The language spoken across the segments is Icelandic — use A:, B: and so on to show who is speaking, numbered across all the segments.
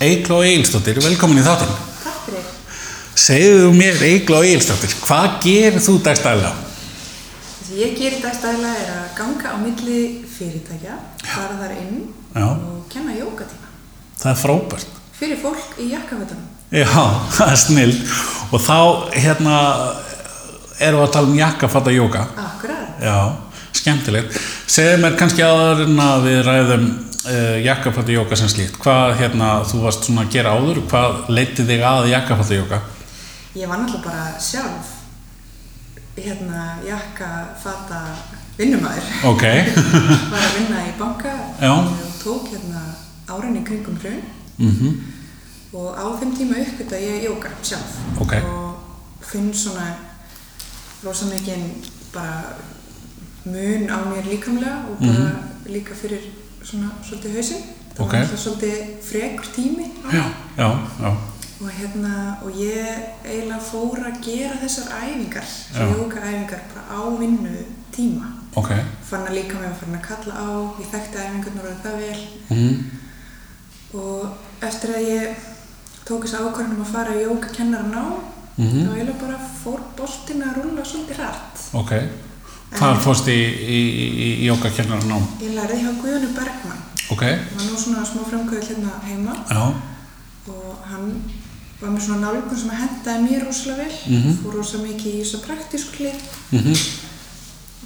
A: Eigló Egilstóttir, velkomin í þáttinn.
B: Takk fyrir.
A: Segðu mér Eigló Egilstóttir, hvað gerir þú dagstæðilega?
B: Það sem ég gerir dagstæðilega er að ganga á milli fyrirtækja, fara þar inn
A: Já.
B: og kenna jókatíma
A: Það er frábært.
B: fyrir fólk í jakkafötunum.
A: Já, það er snill. Og þá, hérna, erum við að tala um jakkafatta jóka.
B: Akkurat.
A: Já, skemmtilegt. Segðu mér kannski áður en að við ræðum uh, jakkafatta jóka sem slíkt. Hvað, hérna, þú varst svona að gera áður, hvað leytið þig að jakkafatta jóka?
B: Ég var náttúrulega bara sjálf hérna jakkafata vinnumæður.
A: Ok,
B: var að vinna í banka
A: Já.
B: og tók hérna árinni kringum raun
A: Mhm.
B: -hmm. og á þeim tíma uppgötta ég jóka sjálf
A: Ok.
B: og finn svona rosa mikinn bara mun á mér líkamlega og bara líka fyrir svona svolítið hausinn það
A: Mhm. Ok.
B: var alltaf svolítið frekur tími á
A: já, já, já.
B: og hérna og ég eiginlega fór að gera þessar æfingar,
A: Já.
B: jóka æfingar bara á vinnu tíma
A: Ok,
B: fann að líka mig að fann að kalla á ég þekkti æfingarnar og það vel
A: mm,
B: og eftir að ég tók þessu ákvörðunum að fara í jóka kennaran á
A: Mhm.
B: þá eiginlega bara fór boltin að rúlla svolítið hratt
A: ok.
B: Ah.
A: Hvar fórst í, í, í, í jókakennarnám?
B: ég lærði hjá Guðunu Bergmann
A: Ok,
B: hann var nú svona smá framkvæðið hérna heima
A: já,
B: og hann var með svona nálgun sem að hendaði mér rosalega vel
A: Mhm.
B: fór rosa mikið í þessu praktísku hlið
A: mhm,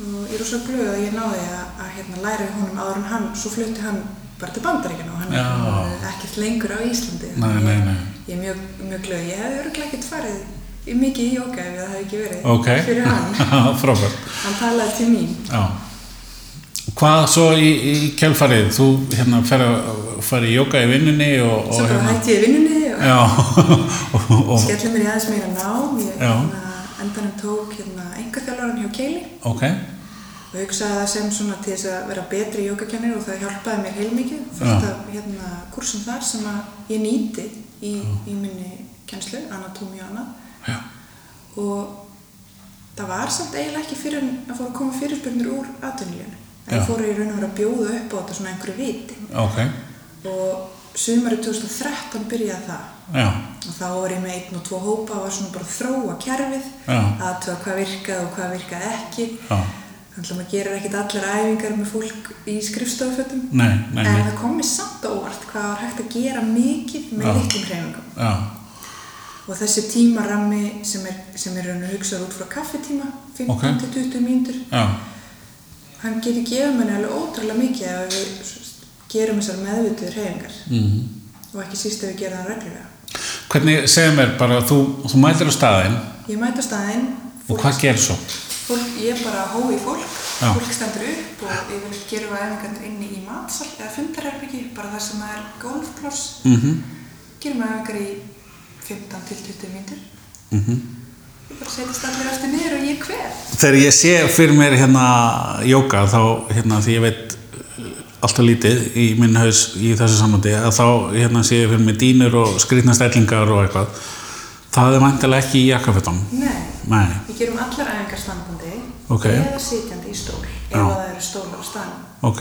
B: og ég er rosa glöð að ég náði að, að hérna, læra við honum áður en hann, svo flutti hann bara til bandaríkina og hann
A: Já.
B: er hérna ekkert lengur á Íslandi.
A: Nei, nei, nei.
B: Ég er mjög, mjög glöð. Ég hefði öruglega ekkert farið í mikið í jóka ef það hefði ekki verið
A: ok.
B: fyrir hann.
A: Frábært,
B: Hann talaði til mín.
A: já. Hvað svo í, í kjálfarið? Þú hérna fer að fara í jóka í vinnunni og, og
B: Svo bara
A: hérna.
B: hætti ég vinnunni og
A: Já, og, og,
B: skelli mér í aðeins meira nám. Ég
A: Já.
B: hérna, endanum tók hérna, engaþjálfaran hjá Keili
A: ok,
B: og hugsaði það sem svona til þess að vera betri jókakennir og það hjálpaði mér heilmikið fullt
A: Já.
B: af hérna, kursum þar sem að ég nýti í, í minni kennslu, anatómi og annað
A: já,
B: og það var samt eiginlega ekki fyrir en að fóru að koma fyrirspurnir úr atvinnilífinu en
A: Já.
B: ég fóru í raun og vera að bjóða upp á þetta svona einhverju viti
A: ok,
B: og sumarið 2013 byrjaði það
A: já,
B: og þá var ég með einn og tvo hópa og var svona bara að þróa kerfið
A: Já.
B: aðtöða hvað virkaði og hvað virkaði ekki
A: Já.
B: þannig að maður gerir ekkit allar æfingar með fólk í skrifstofötum
A: Nei, nei, nei.
B: en það komið samt á óvart hvað var hægt að gera mikið með
A: Já.
B: litlum hreyfingum
A: já,
B: og þessi tímarammi sem er, sem er raun og hugsaður út frá kaffetíma 15
A: Ok.
B: til 20 mínútur
A: já,
B: hann getur gefið manni alveg ótrúlega mikið ef við svo veist, gerum þessar meðvituð hreyfingar
A: mhm.
B: og ekki síst ef við gerum það reglulega
A: Hvernig, segðu mér bara, þú, þú mætir á staðinn
B: ég mæta staðinn
A: og hvað gerir svo?
B: fólk, ég er bara hói fólk,
A: Já.
B: fólk stendur upp og yfirleitt gerum við æfingarnir inni í matsal eða fundarherbyggi, bara þar sem það er golfploss,
A: Mm -hmm.
B: gerum við æfingar í 15 til 20 mínútur
A: Mm -hmm.
B: ég bara setjast allir eftir niður og ég hver
A: Þegar ég sé fyrir mér hérna jóka þá hérna því ég veit uh, alltaf lítið í minn haus í þessu samandi að þá hérna sé ég fyrir mér dýnur og skrýtna stellingar og eitthvað það er mæntilega ekki í jakkafötum
B: nei,
A: Nei,
B: við gerum allar æfingar standandi
A: Ok.
B: eða sitjandi í stól ef
A: Já.
B: það eru stólar á staðnum
A: ok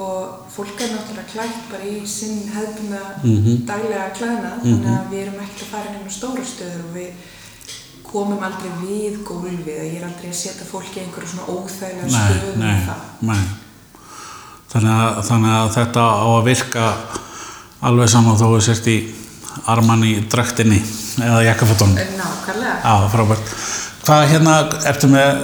B: og fólk er náttúrulega klætt bara í sinn hefðbuna
A: Mhm.
B: daglega klæðna þannig að við erum ekkert að fara inn á stóra stöður og við komum aldrei við gólfið að ég er aldrei að setja fólk í einhverju svona óþægilega
A: Nei,
B: stöðu um
A: nei, nei þannig að, þannig að þetta á að virka alveg saman þó þú sért í arman í draktinni eða jakkafötum
B: Nákvæmlega
A: Já, frábært. Hvað hérna, ertu með,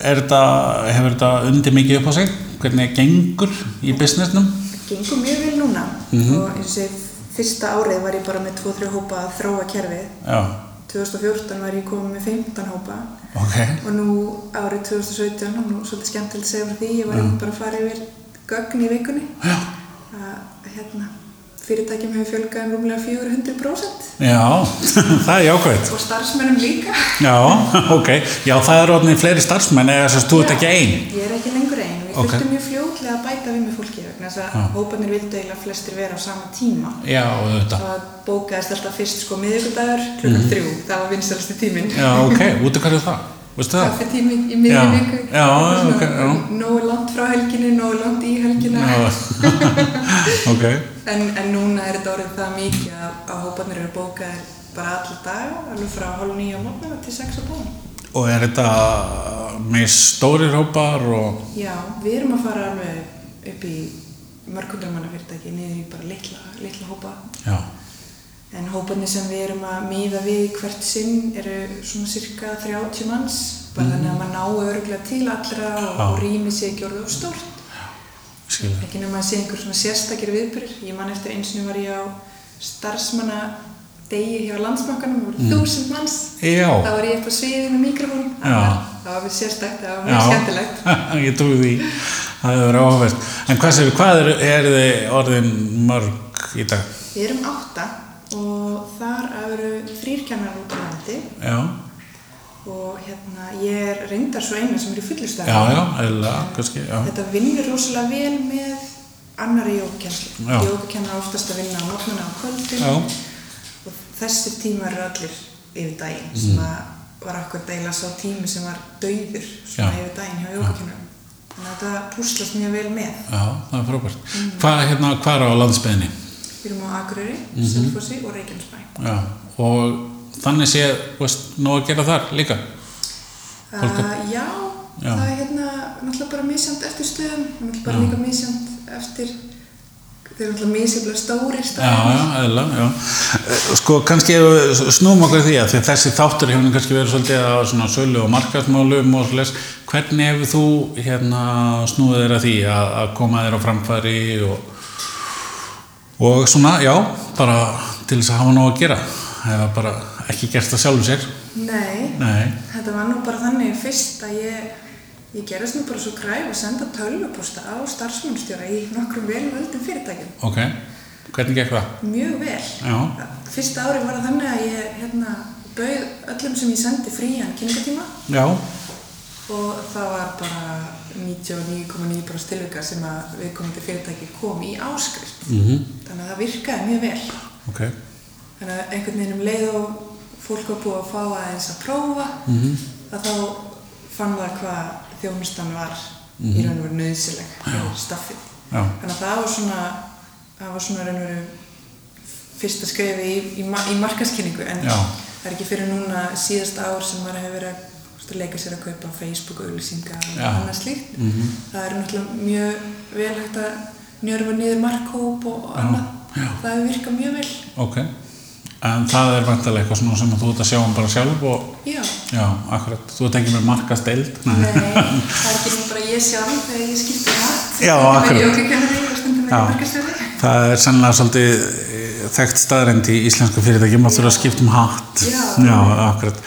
A: er þetta, hefur þetta undir mikið upp á sig? Hvernig gengur í businessnum?
B: Það gengur mjög vel núna
A: Mhm.
B: og eins og segi, fyrsta árið var ég bara með 2-3 hópa að þróa kerfið
A: Já,
B: 2014 var ég komin með 15 hópa
A: ok,
B: og nú árið 2017 og nú svolítið skemmtilegt að segja frá því ég var einmitt bara að fara yfir gögn í vikunni
A: Já.
B: að hérna, fyrirtækjum hefur fjölgað um rúmlega 400%
A: já, það er jákvæmt.
B: og starfsmennum líka
A: Já, ok, já það er orðinni fleiri starfsmenn eða þess að þú ert ekki einn.
B: Ég er ekki lengur einn og ég
A: Ok.
B: okay. þurfti mjög fljótlega að bæta við með fólki vegna þess að
A: Já.
B: hópanir vildu eiginlega flestir vera á sama tíma
A: Já, auðvitað.
B: það
A: Mhm.
B: bókaðist alltaf fyrst sko miðvikudagur klukkan þrjú, það var vinsælasti tíminn
A: Já, ok, út af hverju það? Veistu það?
B: kaffetími í miðri
A: Já.
B: viku
A: Já, já,
B: Svona
A: ok, já.
B: nógu langt frá helginni, nógu langt í helgina
A: Já, ok.
B: en, en núna er þetta orðið það mikið að, að hópanir eru bókaðir bara alla daga, alveg frá hálf nýja morgna til sex á bóðum
A: Og er þetta með stórir hópar og...
B: Já, við erum að fara alveg upp í mörgundramanna fyrirtæki niður í bara litla, litla hópa
A: Já,
B: en hóparnir sem við erum að miða við í hvert sinn eru svona cirka 30 manns bara þannig að maður ná öruglega til allra og,
A: Já.
B: og rými sé ekki orðið of stórt
A: ég skil það.
B: ekki nema að sé einhver svona sérstakir viðbyrjur ég man eftir eins og var ég á starfsmanna degi hjá landsbankanum það voru þúsund manns
A: Mm. Já.
B: þá var ég upp á sviðinu mikrofón það
A: Já.
B: var- það var við sérstakt, það var mjög skemmtilegt
A: ég trúi því. Það hefur verið áhverst. En hvað, segir, hvað eru er þið orðin mörg í dag?
B: Við erum átta og þar eru þrýr kennar út á landi
A: Já,
B: og hérna ég er reyndar svo eina sem er í fullustæði.
A: já, já, eða kannski, já.
B: Þetta vinnur rosalega vel með annari jókkennslu.
A: Já.
B: Jókkennar er oftast að vinna á morgnana og kvöldin
A: Já.
B: og þessir tímar eru allir yfir daginn
A: Mm.
B: sem að var akkur deila sá tími sem var dauður svona
A: Já.
B: yfir daginn hjá jókkennarum. Þannig að þetta púslast mjög vel með.
A: Já, það er frábært.
B: Mm.
A: Hvað, hérna, hvað er á landsbyðinni?
B: Við erum á Akureyri,
A: Mhm.
B: mm -hmm. Selfossi og Reykjanesbæ.
A: Já, og þannig sé, veist, nóg að gera þar líka. Fólk
B: Uh, já,
A: Já.
B: það er hérna náttúrulega bara misjönd eftir stöðum, náttúrulega bara
A: Já.
B: líka misjönd eftir, þeir eru náttúrulega misjöflega stórir
A: Já, já, eðlilega, já. Sko, kannski ef við snúum okkur að því að því að þessi þáttur hefur nú kannski verið svolítið á svona sölu og markaðsmálum og svolítið, hvernig hefur þú hérna snúið þér að því að, að koma þér á framfæri og, og svona, já, bara til þess að hafa nóg að gera, eða bara ekki gert það sjálfur sér.
B: Nei,
A: Nei,
B: þetta var nú bara þannig fyrst að ég, ég gerðist nú bara svo græf að senda tölvupústa á starfsmannstjóra í nokkrum velvöldum fyrirtækjum.
A: ok, hvernig gekk það?
B: Mjög vel.
A: Já,
B: Fyrsta ári var það þannig að ég hérna bauð öllum sem ég sendi frían kynningatíma
A: já,
B: og það var bara 99,9% tilvika sem að viðkomandi fyrirtæki kom í áskrift
A: mhm,
B: þannig að það virkaði mjög vel
A: ok,
B: þannig að einhvern veginn um leið og fólk var búið að fá aðeins að prófa
A: mhm,
B: að þá fann það hvað þjónustan var í raun og veru nöðsileg fyrir staffið
A: Mhm. já,
B: þannig að það var svona það var svona raun og veru fyrsta skrefi í, í, ma- í markaskynningu en
A: Já.
B: það er ekki fyrir núna síðast ár sem maður hefur verið að þú veist, leika sér að kaupa Facebook auðlýsingar og
A: Já. Mhm.
B: annað slíkt það er náttúrulega mjög vel hægt að njörfa niður markkóp og og annað
A: já.
B: það hefur virkað mjög vel
A: ok. En það er vantilega eitthvað svona sem að þú ert að sjá um bara sjálf og
B: já,
A: Já, akkurat. Þú ert ekki með markast eld.
B: nei, það er ekki nú bara ég sjálf þegar ég skipti um hatt
A: Já, akkurat.
B: ég okkur kennari og stundum ekki
A: Já.
B: markastöði
A: Það er sannlega svolítið eh, þekkt staðrendi í íslensku fyrirtækjum að þurfa að skipta um hatt.
B: Já.
A: akkurat.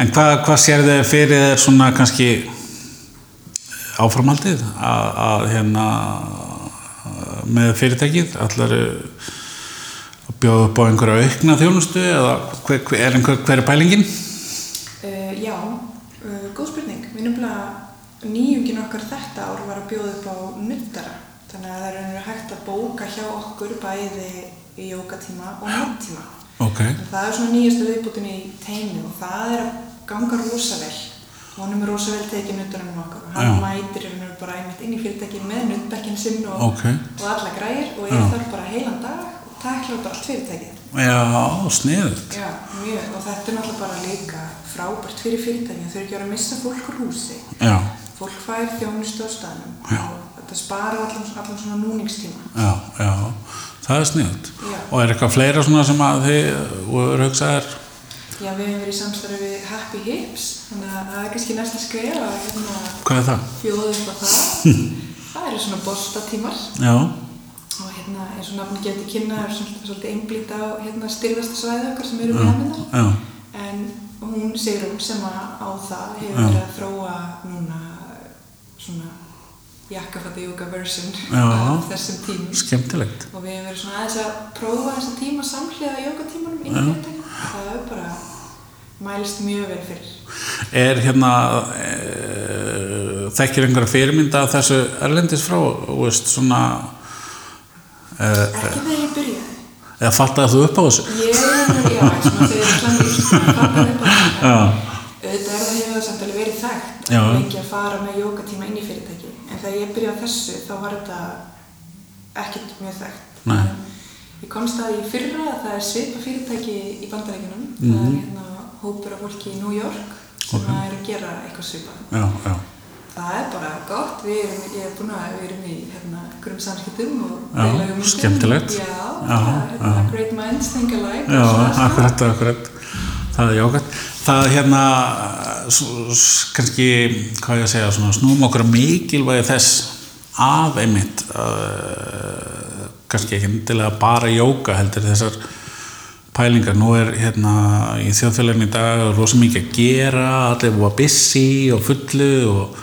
A: En hvað, hvað sér þið fyrir þér svona kannski áframhaldið að, að hérna með fyrirtækið? Allar að bjóða upp á einhverja aukna þjónustu eða hver, hver, er einhver, hver er pælingin?
B: Uh, já, uh, góð spurning. Við nefnilega nýjungin okkar þetta ár var að bjóða upp á nuttara. Þannig að það er raunverulega hægt að bóka hjá okkur bæði í jókatíma og náttíma.
A: Ok,
B: Það er svona nýjasta viðbútin í teinu og það er að ganga rosa vel. Honum er rosa vel tekið nuttaranum okkar og hann
A: Já.
B: mætir ef hann er bara einmitt inn í fyrirtækin með nuttbekkin sinn og,
A: ok.
B: og alla græir og
A: Já.
B: er þar bara heilan dag og tækla út allt fyrirtækið.
A: Já, sniðut.
B: Já, mjög, og þetta er náttúrulega bara líka frábært fyrir fyrirtækja, þau eru ekki að vera að missa fólk úr húsi,
A: Já,
B: fólk fær þjónustu á staðnum
A: Já.
B: og þetta sparar allan, allan svona núningstíma.
A: já, já. Það er sniðut.
B: Já.
A: Og er eitthvað fleira svona sem að þið uh, voru hugsaðar?
B: Já, við hefum verið í samstarfi við Happy Hips, þannig að það er kannski næsta skref að hérna,
A: Hvað er það?
B: bjóða upp á það. það eru svona boltatímar
A: Já,
B: og hérna, eins og nafnir getur kynna, það er svolítið, svolítið einblít á hérna, styrðasta svæði okkar sem eru með hafnindar.
A: já,
B: En hún, Sigrun, sem að á það hefur
A: Já.
B: verið að þróa núna svona jakkafætti yoga version
A: Já.
B: af þessum tímum
A: skemmtilegt.
B: og við hefum verið svona aðeins að prófa þessa tíma samhliða jókatímanum inn í fyrirtækjum það er bara mælist mjög vel fyrir
A: Er hérna, e, þekkir einhverja fyrirmynda af þessu erlendis frá, þú veist, svona, e,
B: ekki þegar ég byrjaði
A: eða fattaði þú upp á þessu?
B: ég, já, svona þegar ég klandið fattaði upp á þetta
A: Já,
B: auðvitað er það hefur það samt alveg verið ég er ekki að fara með jókatíma inn í fyrirtæki en þegar ég byrjaði á þessu þá var þetta ekkert mjög þekkt
A: Nei.
B: ég komst að í fyrra að það er svipa fyrirtæki í bandarækjunum það er hérna hópur af fólki í New York sem
A: Mhm. Ok.
B: er að gera eitthvað svipa
A: já, já,
B: það er bara gott við erum, ég er búin að við erum í hérna, grum samskiptum og
A: Já,
B: deila hugmyndum.
A: skemmtilegt.
B: já,
A: Já,
B: það er hérna,
A: já.
B: great minds think alike
A: já,
B: og svona, sko.
A: akkurat, akkurat. Það er jákvæmt. Það hérna, s- s- kannski, hvað ég að segja, svona, snúum okkur að mikilvægi þess að einmitt, uh, kannski ekki endilega bara jóka heldur þessar pælingar. Nú er hérna í þjóðfélaginu í dag rosa mikið að gera, allir búa busy og fullu og,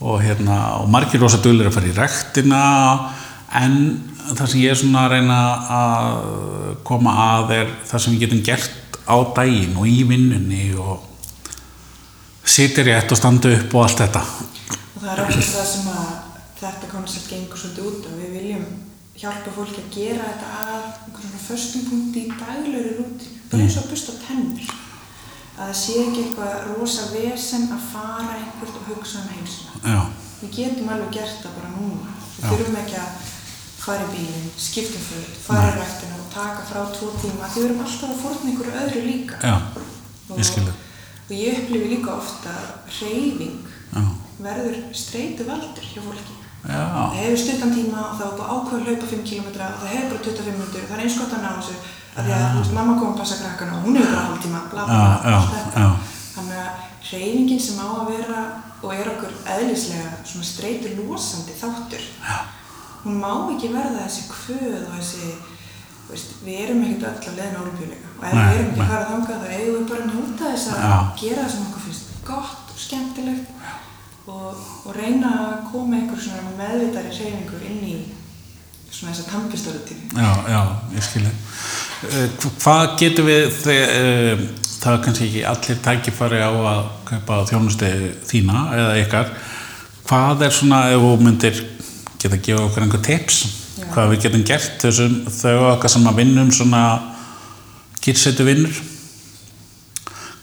A: og, hérna, og margir rosa dölir að fara í rektina en það sem ég er svona að reyna að koma að er það sem við getum gert á daginn og í vinnunni og sitir rétt og standa upp og allt þetta
B: og það er okkur það sem að þetta koncept gengur svolítið út og við viljum hjálpa fólki að gera þetta að einhvern svona föstum punkti í daglegri rútinu, bara eins og að busta tennur að það sé ekki eitthvað rosa vesen að fara einhvert og hugsa um heimsina
A: já,
B: Við getum alveg gert það bara núna. Við
A: Já.
B: þurfum ekki að fara í bílinn, skipta um föt, fara í rættinu og taka frá tvo tíma. Því við erum alltaf að fórna einhverju öðru líka.
A: já, ég
B: og,
A: skil það
B: og ég upplifi líka oft að reyfing
A: já,
B: verður streitu valdur hjá fólki.
A: já,
B: Það hefur stuttan tíma og það er bara ákveð að hlaupa 5 km og það hefur bara 25 minútur og það er eins gott að ná þessu. Af því að þú veist, mamma kom að passa krakkana og hún hefur bara hálftíma, bla bla
A: Já,
B: bla,
A: já,
B: allt þetta.
A: já.
B: Þannig að reyfingin sem á að vera og er okkur eðlislega svona streytur losandi þáttur
A: Já.
B: hún má ekki verða þessi kvöð og þessi þú veist, við erum ekkert öll að leiðin ólimpíuleika og ef
A: Nei,
B: við erum ekki
A: nei.
B: að fara þangað þá eigum við bara að njóta þess að
A: Já.
B: gera það sem okkur finnst gott og skemmtilegt og, og reyna að koma einhver svona meðvitari reyfingu inn í svona þessa tampistörutími
A: já, já, ég skil það hvað getum við þegar, eh, það er kannski ekki allir tækifæri á að kaupa þjónustu þína eða ykkar hvað er svona ef þú myndir geta að gefa okkur einhver tips
B: Já.
A: hvað við getum gert þessum þau okkar sem að vinnum svona kyrsetu vinnur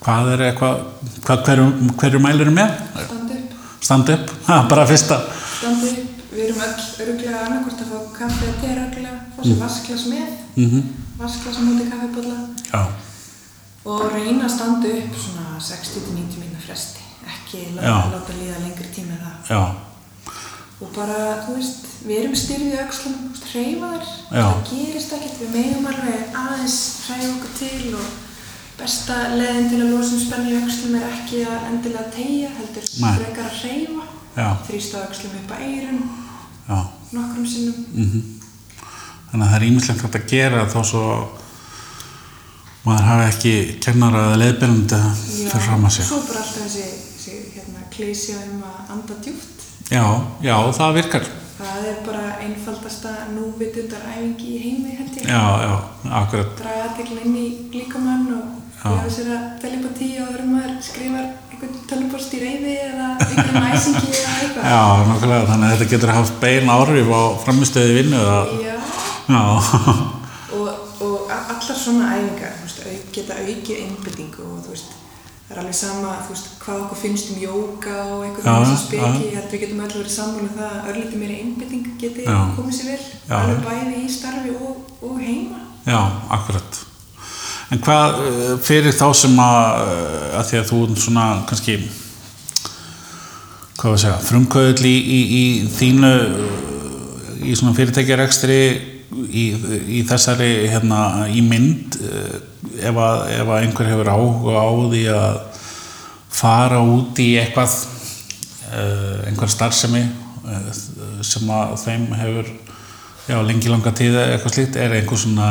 A: hvað er eitthvað hvað, hverju, hverju mælur með
B: standa upp
A: stand up, ha, bara fyrsta
B: standi upp, við erum öll öruglega annarkvort að fá kaffi að tera öruglega, fá sér vasklas með,
A: mhm,
B: vasklas múti kaffibólla
A: já,
B: og reyna að standa upp svona 60-90 minna fresti, ekki láta,
A: Já.
B: láta líða lengri tíma en það.
A: já,
B: Og bara, þú veist, við erum styrfið aukslum, hreyfa þær,
A: Já.
B: það gerist ekkert, við megum alveg aðeins hreyfa okkur til og besta leiðin til að losa um spennu í aukslum er ekki að endilega tegja, heldur
A: Nei.
B: frekar að hreyfa,
A: já,
B: þrýsta aukslum upp að eyrun
A: já
B: nokkrum sinnum
A: Þannig að það er ímislegt hægt að gera þó svo maður hafi ekki kennara eða leiðbyrjandi fyrir fram að sig.
B: svo bara alltaf þessi, þessi hérna, klísja um að anda djúpt.
A: Já, já, það virkar.
B: Það er bara einfaldasta núvitundaræfingi í heimi, held ég.
A: Já, já, akkurat.
B: Draga aðtegla inn í líkamann og
A: Já.
B: gefa sér að telja upp á tíu og öðrum maður skrifar einhvern tölvupost í reyði eða einhvern æsingi eða eitthvað.
A: Já, nokkulega, þannig að þetta getur haft bein áhrif á framistöði vinnu. Það.
B: Já.
A: Já,
B: Og, og a- allar svona æfingar, þú veist, au- geta aukið einbyrtingu og þú veist, það er alveg sama, þú veist, hvað okkur finnst um jóka og eitthvað
A: Já, já,
B: þannig sem speki, ég held að við getum öll verið sammála um það að örlítið meiri einbyrting geti
A: Já.
B: komið sér vel,
A: Já.
B: alveg bæði í starfi og, og heima.
A: já, akkurat. En hvað eh, fyrir þá sem að, eh, að því að þú ert svona kannski, hvað var að segja, frumkvöðl í, í, í þínu eh, í svona fyrirtækjarekstri í, í þessari hérna, í mynd eh, ef að, ef að einhver hefur áhuga á því að fara út í eitthvað eh, einhver starfsemi eh, sem að þeim hefur já, lengi langa tíða eitthvað slíkt er einhver svona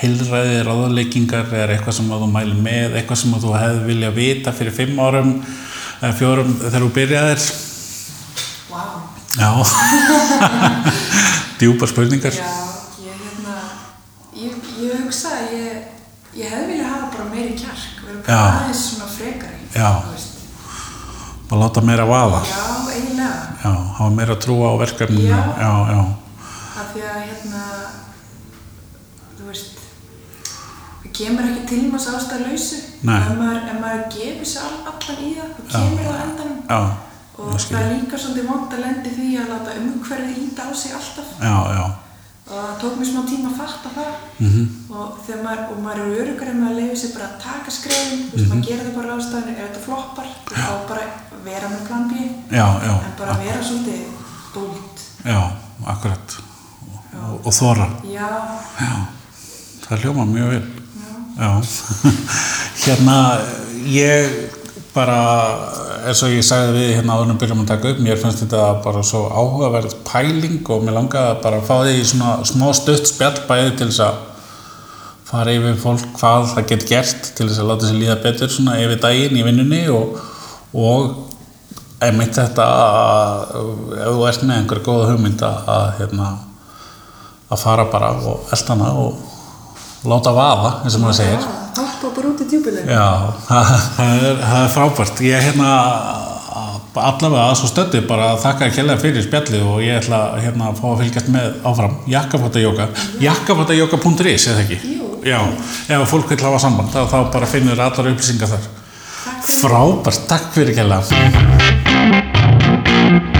A: heilræði ráðleikingar eða eitthvað sem að þú mælir með eitthvað sem að þú hefði vilja vita fyrir fimm árum eða fjórum þegar þú byrjaðir
B: Vá. Wow.
A: já djúpar spurningar
B: Já, ég hérna, ég, ég hugsa að ég, ég hefði viljað hafa bara meiri kjark, vera bara
A: Já.
B: aðeins svona frekari,
A: Já.
B: þú veist.
A: bara láta meira vaða
B: Já, eiginlega,
A: já, hafa meira trú á verkefninu
B: Já.
A: já, já,
B: af því að hérna, þú veist, við kemur ekki til maður sástað lausu
A: Nei.
B: ef maður, ef maður gefur sér all- allan í það þá kemur það á endanum
A: já,
B: og
A: ég skil.
B: það er líka svolítið vond að lendi því að láta umhverfið íta á sig alltaf
A: já, já,
B: og það tók mér smá tíma að fatta það og þegar maður, og maður eru örugur ef maður leiður sér bara að taka skrefin mm -hmm. maður gerir það bara ráðstafinu, ef þetta floppar þá bara vera með plan B
A: já, já,
B: en bara vera svolítið bólt
A: já, akkurat og, og þóra,
B: já,
A: já, það hljóma mjög vel,
B: já,
A: já, hérna, ég bara, eins og ég sagði við hérna áður en við byrjum að taka upp, mér finnst þetta bara svo áhugaverð pæling og mér langaði bara að fá því svona smá stutt spjall bæði til þess að fara yfir fólk hvað það getur gert til þess að láta sér líða betur svona yfir daginn í vinnunni og, og einmitt þetta að ef þú ert með einhverja góða hugmynd að, að, hérna, að fara bara og elda hana og láta vaða, eins og maður segir
B: hoppa bara út í djúbulinu
A: Já, það, það, er, það er frábært. Ég er hérna allavega að svo stöddu bara að þakka kjærlega fyrir spjallið og ég ætla hérna að fá að fylgjast með áfram. Jakkafattajóka, jakkafattajóka.is eða ekki?
B: Jú.
A: Já, ef fólk vil hafa samband þá, þá bara finnur allar upplýsingar þar.
B: Takk
A: Frábært, takk fyrir kjærlega.